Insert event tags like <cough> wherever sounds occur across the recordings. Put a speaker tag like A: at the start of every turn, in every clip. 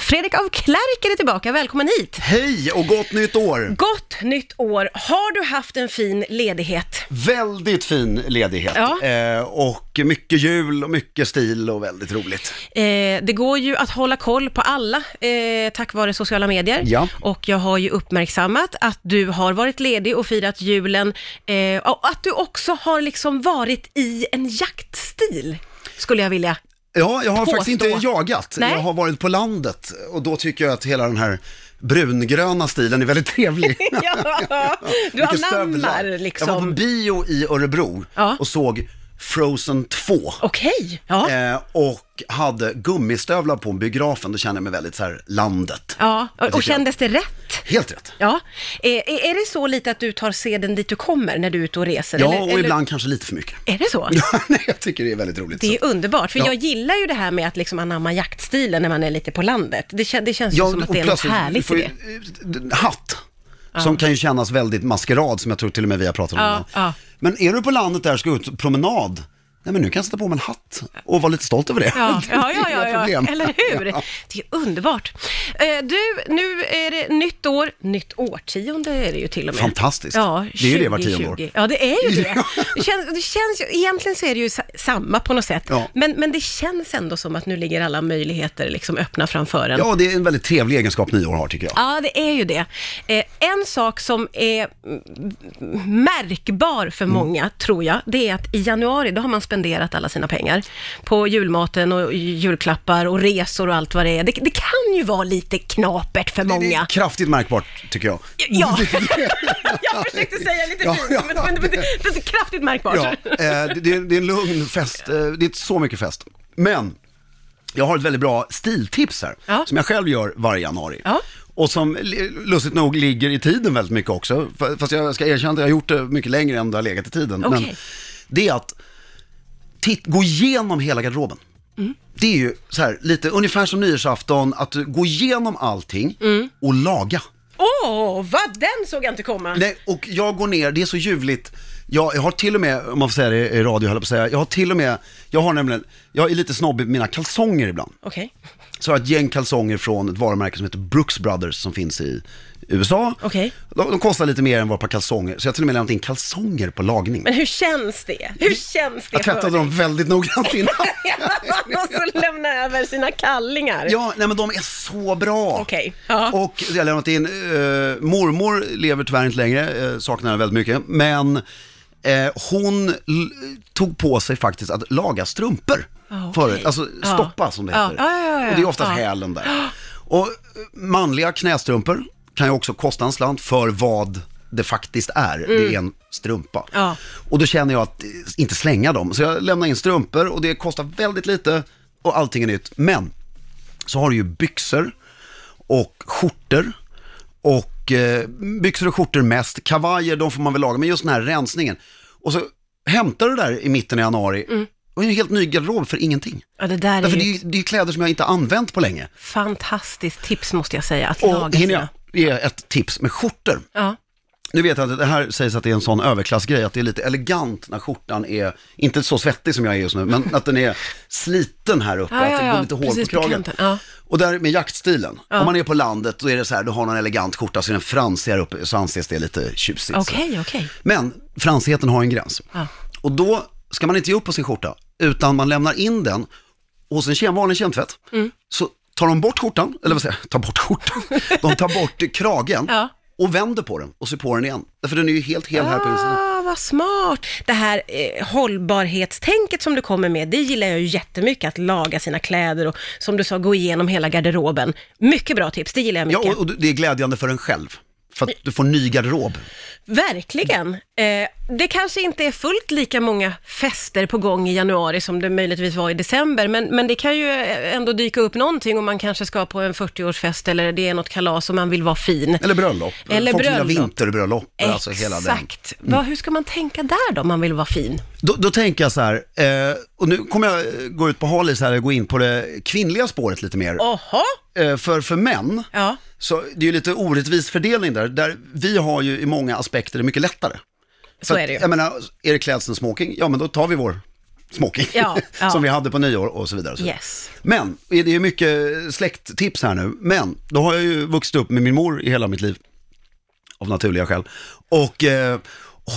A: Fredrik av Klerker är tillbaka, välkommen hit!
B: Hej och gott nytt år!
A: Gott nytt år! Har du haft en fin ledighet?
B: Väldigt fin ledighet
A: Ja.
B: eh, och mycket jul och mycket stil och väldigt roligt.
A: Eh, det går ju att hålla koll på alla eh, tack vare sociala medier.
B: Ja.
A: Och jag har ju uppmärksammat att du har varit ledig och firat julen eh, och att du också har liksom varit i en jaktstil, skulle jag
B: <laughs>
A: vilja.
B: Ja, jag har
A: Påstå.
B: faktiskt inte jagat.
A: Nej.
B: Jag har varit på landet och då tycker jag att hela den här brungröna stilen är
A: <laughs>
B: väldigt trevlig.
A: ja, du
B: Vilka stövlar.
A: anammar
B: Jag var på
A: liksom.
B: bio i Örebro
A: Ja.
B: och såg Frozen 2.
A: Okej, ja.
B: Eh, och hade gummistövlar på biografen, då kände jag mig väldigt så här landet.
A: ja.
B: jag
A: Och, och
B: tycker-
A: kändes det rätt?
B: Helt rätt.
A: Ja, är, är det så lite att du tar seden dit du kommer när du är ute och reser?
B: Ja,
A: eller-
B: och
A: eller-
B: ibland kanske lite för mycket. <laughs>
A: Är det så?
B: Nej, jag tycker det är väldigt roligt.
A: Det
B: så.
A: är underbart, för
B: Ja.
A: jag gillar ju det här med att liksom anamma jaktstilen när man är lite på landet. Det, kän, det känns ju som att det är
B: och
A: något
B: plötsligt
A: härligt i
B: får
A: det.
B: ju- eh, Hatt, som kan ju kännas väldigt maskerad, som jag tror till och med vi har pratat om.
A: Ja,
B: innan.
A: ja.
B: Men är du på landet där och ska ut promenad, nej men nu kan jag sätta på mig en hatt och vara lite stolt över <laughs> det.
A: Ja, ja, ja,
B: Inga
A: ja, ja.
B: problem.
A: eller hur?
B: Ja.
A: Det är underbart. Eh, Du, nu är det nytt år, nytt årtionde är det ju till och med.
B: Fantastiskt.
A: Ja,
B: Det är ju det var tionde år.
A: 2020. Ja, det är ju
B: <laughs>
A: det. Det känns, det känns ju, egentligen så är det ju sa- samma på något sätt,
B: Ja.
A: men, men det känns ändå som att nu ligger alla möjligheter liksom öppna framför en.
B: Ja, det är en väldigt trevlig egenskap nyår har tycker jag.
A: Ja, det är ju det. Eh, en sak som är mm, märkbar för
B: Mm.
A: många, tror jag, det är att i januari, då har man spenderat alla sina pengar på julmaten och julklappar och resor och allt vad det är. Det, det kan ju vara lite knapert för
B: Det- Det är
A: många.
B: kraftigt märkbart tycker jag.
A: Ja,
B: <laughs>
A: <laughs> jag försökte säga lite
B: Ja,
A: fint,
B: ja,
A: men, men, men det, det är så kraftigt märkbart.
B: Ja, eh, det, det, är, det är en lugn fest, eh, det är inte så mycket fest. Men jag har ett väldigt bra stiltips här,
A: Ja.
B: som jag själv gör varje januari.
A: Ja.
B: Och som li- lustigt nog ligger i tiden väldigt mycket också. F- Fast jag ska erkänna att jag har gjort det mycket längre än det har legat i tiden. Men
A: Okej.
B: det är att titt, gå igenom hela garderoben.
A: Mm.
B: Det är ju så här, lite ungefär som nyårsafton, att du går igenom allting
A: Mm.
B: och laga.
A: Åh, vad den såg jag inte komma.
B: Nej, och jag går ner, det är så ljuvligt. Jag, jag har till och med, om man får säga det i radio, höll jag på att säga, jag har till och med, jag har nämligen, jag är lite snobbig med mina kalsonger ibland.
A: Okej.
B: Så jag har ett gäng kalsonger från ett varumärke som heter Brooks Brothers som finns i USA.
A: Okej.
B: De, de kostar lite mer än vad ett par kalsonger, så jag har till och med lämnat in kalsonger på lagning.
A: Men hur känns det? Hur känns det
B: Jag
A: för
B: tvättade dem väldigt
A: <laughs>
B: noggrant innan.
A: Man måste lämna över sina kallingar.
B: Ja, nej men de är så bra.
A: Okej, ja.
B: Och jag har lämnat in, eh, mormor lever tyvärr inte längre, eh, saknar henne väldigt mycket, men eh, hon l- tog på sig faktiskt att laga strumpor.
A: Ja, Ah, okej.
B: Förut, alltså
A: Ja.
B: stoppa som det
A: Ja.
B: heter.
A: Ja, ja, ja, ja.
B: Och det är oftast
A: Ja.
B: hälen där. Och eh, manliga knästrumpor kan ju också kosta en slant för vad det faktiskt är. Det är en strumpa.
A: Ja.
B: Och då känner jag att eh, inte slänga dem. Så jag lämnar in strumpor och det kostar väldigt lite och allting är nytt. Men så har du ju byxor och skjortor. Och eh, byxor och skjortor mest. Kavajer, de får man väl laga. Men just den här rensningen. Och så hämtar du det där i mitten av januari. Och en helt ny garderob för ingenting.
A: Ja, det där är
B: Därför det är
A: ju
B: ju
A: ett
B: det är ju kläder som jag inte har använt på länge.
A: fantastiskt tips måste jag säga, att
B: Och
A: laga
B: hinner jag
A: sina.
B: ge ett tips med skjortor.
A: Ja.
B: Nu vet jag att det här sägs att det är en sån överklassgrej, att det är lite elegant när skjortan är, inte så svettig som jag är just nu, men att den är sliten här uppe,
A: Ja,
B: att det
A: ja,
B: går
A: ja,
B: lite hål
A: precis
B: på
A: på
B: kragen.
A: kanten, ja.
B: Och där med jaktstilen, om man är på landet, då är det så här, du har någon elegant skjorta, så är den fransig här uppe, så anses det lite tjusigt. så.
A: Okej, okej.
B: Men fransigheten har en gräns.
A: Ja.
B: Och då ska man inte ge upp på sin skjorta, utan man lämnar in den hos en kem, vanlig kemtvätt.
A: Mm.
B: Så tar de bort skjortan, eller vad säger jag, tar
A: <laughs>
B: bort skjortan, de tar bort kragen
A: Ja.
B: och vänder på den och ser på den igen. Därför den är ju helt hel här på insidan.
A: Ah, vad smart! Det här eh, hållbarhetstänket som du kommer med, det gillar jag ju jättemycket, att laga sina kläder och som du sa, gå igenom hela garderoben. Mycket bra tips, det gillar jag
B: Ja,
A: mycket.
B: och, och det är glädjande för en själv. För att du får ny garderob.
A: Verkligen. Eh, det kanske inte är fullt lika många fester på gång i januari som det möjligtvis var i december, men, men det kan ju eh, ändå dyka upp någonting om man kanske ska på en 40-årsfest eller det är något kalas och man vill vara fin.
B: Eller bröllop.
A: Eller
B: Folk som gillar
A: bröllop.
B: vinterbröllop. Alltså hela den.
A: Exakt. Vad- hur ska man tänka där då, om man vill vara fin?
B: Då, då tänker jag så här, eh, och nu kommer jag eh, gå ut på halis här och gå in på det kvinnliga spåret lite mer.
A: Oha!
B: Eh, för, för män,
A: Ja.
B: så det är ju lite orättvis fördelning där, där vi har ju i många aspekter det mycket lättare.
A: Så
B: För
A: är det ju.
B: att, Jag menar, är det klädseln smoking, ja men då tar vi vår smoking <laughs>
A: Ja, ja.
B: som vi hade på nyår och så vidare. Och så vidare.
A: Yes.
B: Men, det är ju mycket släkttips här nu, men då har jag ju vuxit upp med min mor i hela mitt liv, av naturliga skäl. Och eh,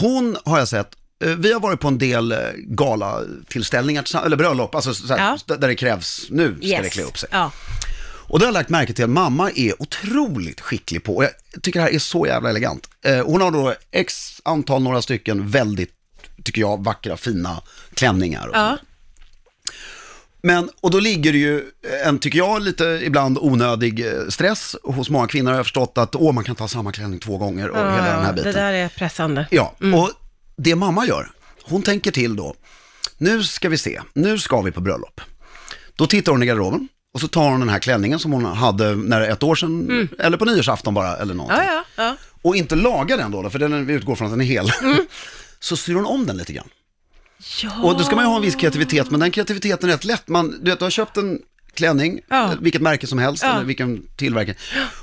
B: hon har jag sett, eh, vi har varit på en del eh, galatillställningar, tillsamm- eller bröllop, alltså så här, där det krävs, nu ska det
A: Yes.
B: klä upp sig.
A: Ja.
B: Och det har jag lagt märke till att mamma är otroligt skicklig på. Och jag tycker det här är så jävla elegant. Eh, hon har då x antal, några stycken väldigt, tycker jag, vackra, fina klänningar. Och
A: Ja.
B: men, och då ligger det ju en, tycker jag, lite ibland onödig eh, stress hos många kvinnor. Jag har förstått att, åh, man kan ta samma klänning två gånger och hela den
A: det
B: här biten.
A: där är pressande.
B: Ja, och det mamma gör, hon tänker till då. Nu ska vi se, nu ska vi på bröllop. Då tittar hon i garderoben och så tar hon den här klänningen som hon hade när ett år sedan, eller på nyårsafton bara, eller någonting.
A: Mm. Ja, ja, ja.
B: Och inte lagar den då, då, för den, vi utgår från att den är hel.
A: Mm.
B: <laughs> Så syr hon om den lite grann.
A: ja.
B: Och då ska man ju ha en viss kreativitet, men den kreativiteten är rätt lätt. Man, du vet, du har köpt en klänning,
A: Ja.
B: eh, vilket märke som helst,
A: Ja.
B: eller vilken tillverkare,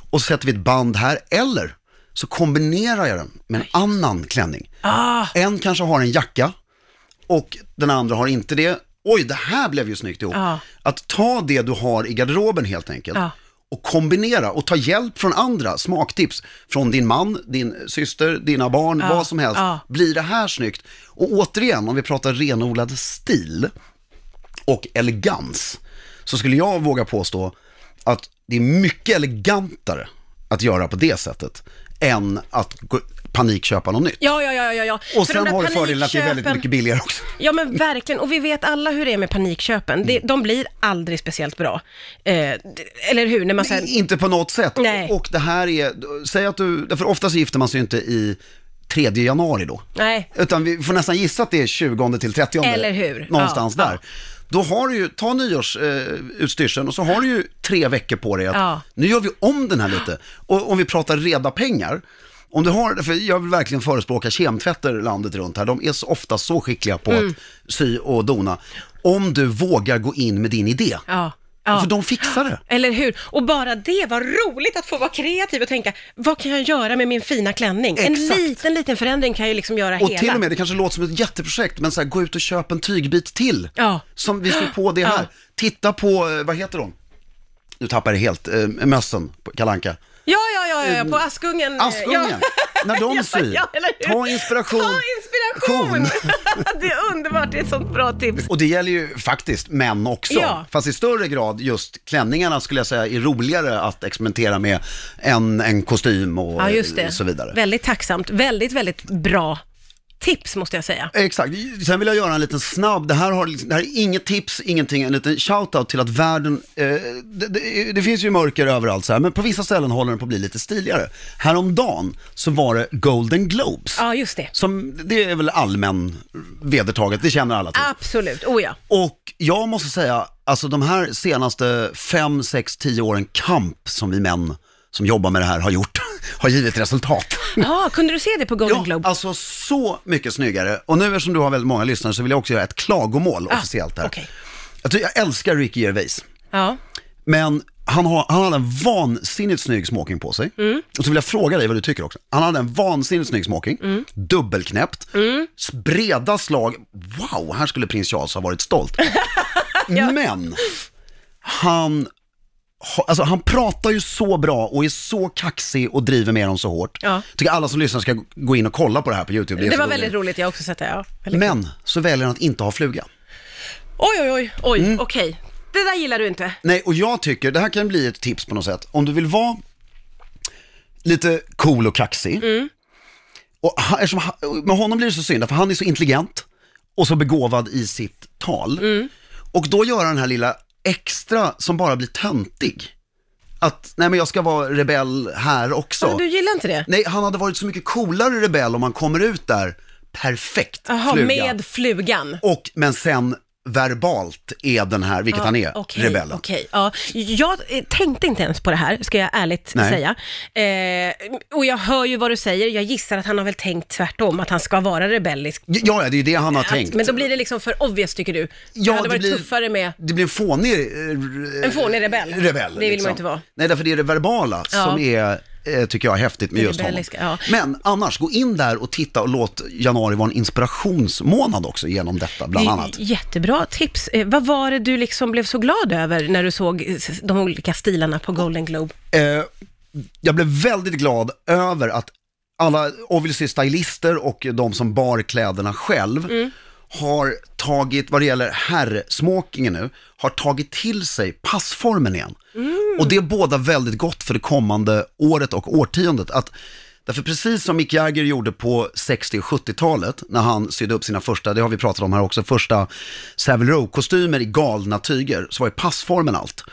B: och så sätter vi ett band här, eller så kombinerar jag den med en annan klänning.
A: Ah,
B: En kanske har en jacka och den andra har inte det. Oj, det här blev ju snyggt ihop.
A: Ja.
B: Att ta det du har i garderoben helt enkelt
A: Ja.
B: och kombinera och ta hjälp från andra, smaktips från din man, din syster, dina barn, vad som helst.
A: ja.
B: Blir det här snyggt? Och återigen, om vi pratar renodlad stil och elegans, så skulle jag våga påstå att det är mycket elegantare att göra på det sättet än att gå, panikköpa något nytt.
A: ja, ja, ja, ja, ja.
B: Och
A: För
B: sen
A: de där
B: har du fördelen att det är väldigt
A: panikköpen-
B: mycket billigare också.
A: Ja men verkligen, och vi vet alla hur det är med panikköpen.
B: Mm.
A: Det, de blir aldrig speciellt bra. Eh, d- eller hur? När man säger,
B: Inte på något sätt.
A: Nej.
B: Och det här är, säg att du, för oftast gifter man sig ju inte i 3 januari då.
A: nej,
B: Utan vi får nästan gissa att det är 20 till 30.
A: Eller hur?
B: Någonstans
A: Ja,
B: där. Då har du ju, ta nyårsutstyrseln eh, utstyrseln och så har du ju tre veckor på dig att
A: Ja.
B: nu gör vi om den här lite. Och om vi pratar reda pengar, om du har, för jag vill verkligen förespråka kemtvätter landet runt här, de är så ofta så skickliga på
A: Mm.
B: att sy och dona. Om du vågar gå in med din idé,
A: ja. ja.
B: för de fixar det.
A: Eller hur? Och bara det var roligt att få vara kreativ och tänka, vad kan jag göra med min fina klänning? En
B: Exakt.
A: liten, liten förändring kan ju liksom göra
B: Och
A: hela.
B: till och med, det kanske låter som ett jätteprojekt, men så här, gå ut och köp en tygbit till.
A: Ja.
B: Som vi slår på det här.
A: Ja.
B: Titta på, eh, vad heter hon? Nu tappar jag det helt, eh, mössen på Kalanka.
A: Ja, ja, ja, ja, ja, på Askungen. eh,
B: Askungen,
A: Ja.
B: när de
A: <laughs> Ja,
B: syr.
A: ja, eller hur?
B: ta inspiration.
A: Ta inspiration! <laughs> det är underbart, det är ett sånt bra tips.
B: Och det gäller ju faktiskt män också.
A: Ja.
B: Fast i större grad just klänningarna skulle jag säga är roligare att experimentera med än en kostym och
A: Ja, just
B: eh,
A: det.
B: så vidare.
A: Väldigt tacksamt. Väldigt, väldigt bra tips måste jag säga.
B: Exakt. Sen vill jag göra en liten snabb, det här, har, liksom- det här är inget tips, ingenting, en liten shout-out till att världen, eh, det, det, det finns ju mörker överallt så här, men på vissa ställen håller den på att bli lite stiligare. Häromdagen så var det Golden Globes,
A: Ja, just det.
B: som det är väl allmän vedertaget, det känner alla till.
A: Absolut, oh ja.
B: Och jag måste säga, alltså de här senaste 5, 6, 10 åren kamp som vi män som jobbar med det här har gjort, <laughs> har givit resultat.
A: Ja, kunde du se det på Golden
B: Ja,
A: Globe?
B: alltså så mycket snyggare. Och nu eftersom du har väldigt många lyssnare så vill jag också göra ett klagomål officiellt här.
A: Ah, okej.
B: Jag, tycker, jag älskar Ricky Gervais,
A: Ja.
B: men han, har, han hade en vansinnigt snygg smoking på sig.
A: Mm.
B: Och så vill jag fråga dig vad du tycker också. Han hade en vansinnigt snygg smoking,
A: Mm.
B: dubbelknäppt, s- breda slag. Wow, här skulle prins Charles ha
A: <laughs>
B: varit stolt. Men han, ha- alltså, han pratar ju så bra och är så kaxig och driver med dem så hårt.
A: Ja.
B: Tycker alla som lyssnar ska gå- gå in och kolla på det här på YouTube. är
A: Det
B: så
A: var
B: roligt.
A: väldigt roligt, jag har också sett det. Ja. Väldigt-
B: Men så väljer han att inte ha fluga.
A: Oj, oj, oj, oj,
B: Mm.
A: okej. Det där gillar du inte.
B: Nej, och jag tycker, det här kan bli ett tips på något sätt. Om du vill vara lite cool och kaxig.
A: Mm.
B: Och han, eftersom han, med honom blir det så synd, för han är så intelligent och så begåvad i sitt tal.
A: Mm.
B: Och då gör han den här lilla extra som bara blir töntig. Att, nej men jag ska vara rebell här också.
A: Men Du gillar inte det?
B: Nej, han hade varit så mycket coolare rebell om han kommer ut där perfekt
A: Jaha,
B: fluga.
A: med flugan.
B: Och, men sen verbalt är den här, vilket han är,
A: Okej,
B: rebellen.
A: okej. ja. Jag eh, tänkte inte ens på det här, ska jag ärligt
B: Nej.
A: säga. Eh, och jag hör ju vad du säger, jag gissar att han har väl tänkt tvärtom, att han ska vara rebellisk.
B: Ja, ja, det är ju det han har tänkt.
A: Men då blir det liksom för obvious, tycker du? det
B: ja,
A: hade varit tuffare med...
B: Det blir en fånig... eh,
A: En fånig rebell.
B: Rebell. liksom.
A: Det vill man inte vara.
B: Nej, därför det är det verbala
A: Ja.
B: som är eh, tycker jag är häftigt med
A: Det
B: just honom.
A: rebelliska, ja.
B: Men annars, gå in där och titta och låt januari vara en inspirationsmånad också genom detta, bland
A: Det är
B: annat.
A: Jättebra tips. Eh, Vad var det du liksom blev så glad över när du såg eh, s- de olika stilarna på Golden Globe?
B: Eh, jag blev väldigt glad över att alla, obviously stylister och de som bar kläderna själv, har tagit, vad det gäller herrsmokingen nu, har tagit till sig passformen igen. Och det är båda väldigt gott för det kommande året och årtiondet. Att, därför precis som Mick Jagger gjorde på 60 och 70-talet, när han sydde upp sina första, det har vi pratat om här också, första Savile Row-kostymer i galna tyger, så var ju passformen allt.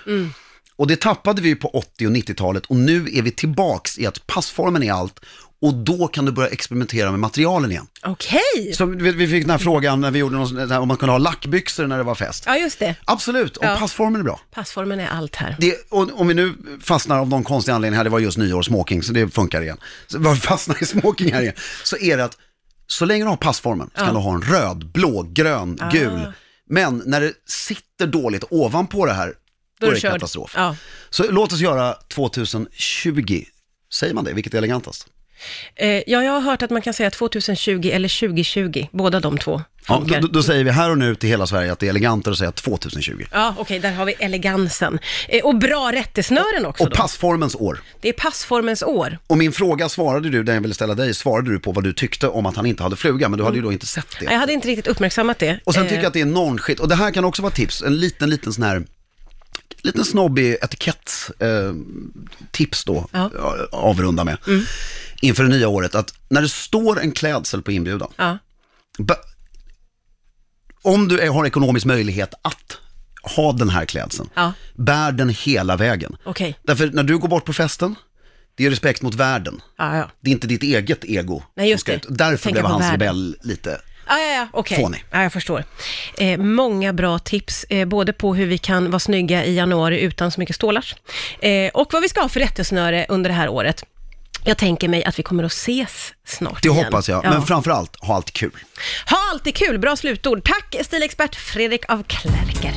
B: Och det tappade vi ju på 80 och 90-talet och nu är vi tillbaks i att passformen är allt och då kan du börja experimentera med materialen igen.
A: Okej!
B: Så vi vi fick den här frågan när vi gjorde någon, sån här, om man kunde ha lackbyxor när det var fest.
A: Ja, just det.
B: Absolut, och
A: Ja.
B: passformen är bra.
A: Passformen är allt här.
B: Det, och, om vi nu fastnar av någon konstig anledning här, det var just nyår, smoking, så det funkar igen. Så varför fastnar i smoking här igen? Så är det att så länge du har passformen så kan du ha en röd, blå, grön, gul. Men när det sitter dåligt ovanpå det här, då är det
A: körd.
B: katastrof.
A: Ja.
B: Så låt oss göra 2020. Säger man det? Vilket är elegantast?
A: Eh, ja, jag har hört att man kan säga 2020 eller 2020, båda de två
B: Ja,
A: funkar.
B: då, då säger vi här och nu till hela Sverige att det är elegantare att säga 2020.
A: Ja, okej, där har vi elegansen. Eh, och bra rättesnören också
B: Och
A: då.
B: passformens år.
A: Det är passformens år.
B: Och min fråga svarade du, den jag ville ställa dig, svarade du på vad du tyckte om att han inte hade fluga, men du hade ju då inte sett
A: Jag
B: det.
A: hade inte riktigt uppmärksammat det.
B: Och sen
A: Mm. Eh,
B: tycker jag att det är normskit, och det här kan också vara tips, en liten, liten sån här, liten snobbig etikett eh, tips då,
A: Ja. Mm.
B: eh, avrunda med, inför det nya året, att när det står en klädsel på inbjudan,
A: Ja,
B: Ba- Om du är- har ekonomisk möjlighet att ha den här klädseln,
A: Ja.
B: bär den hela vägen.
A: okej.
B: Därför när du går bort på festen, det är respekt mot världen.
A: Ja, ja.
B: Det är inte ditt eget ego.
A: Nej,
B: som
A: just
B: ska
A: det.
B: ut. Därför
A: Tänka
B: blev
A: på
B: hans
A: världen.
B: rebell lite.
A: Ah, ja, ja, okej.
B: Fånig.
A: Ja, jag förstår. Eh, många bra tips, eh, både på hur vi kan vara snygga i januari utan så mycket stålar, eh, och vad vi ska ha för rättesnöre under det här året. Jag tänker mig att vi kommer att ses snart
B: Det
A: igen.
B: hoppas jag, men framför allt, ha allt kul.
A: Ha alltid kul, bra slutord. Tack stilexpert Fredrik af Klerker.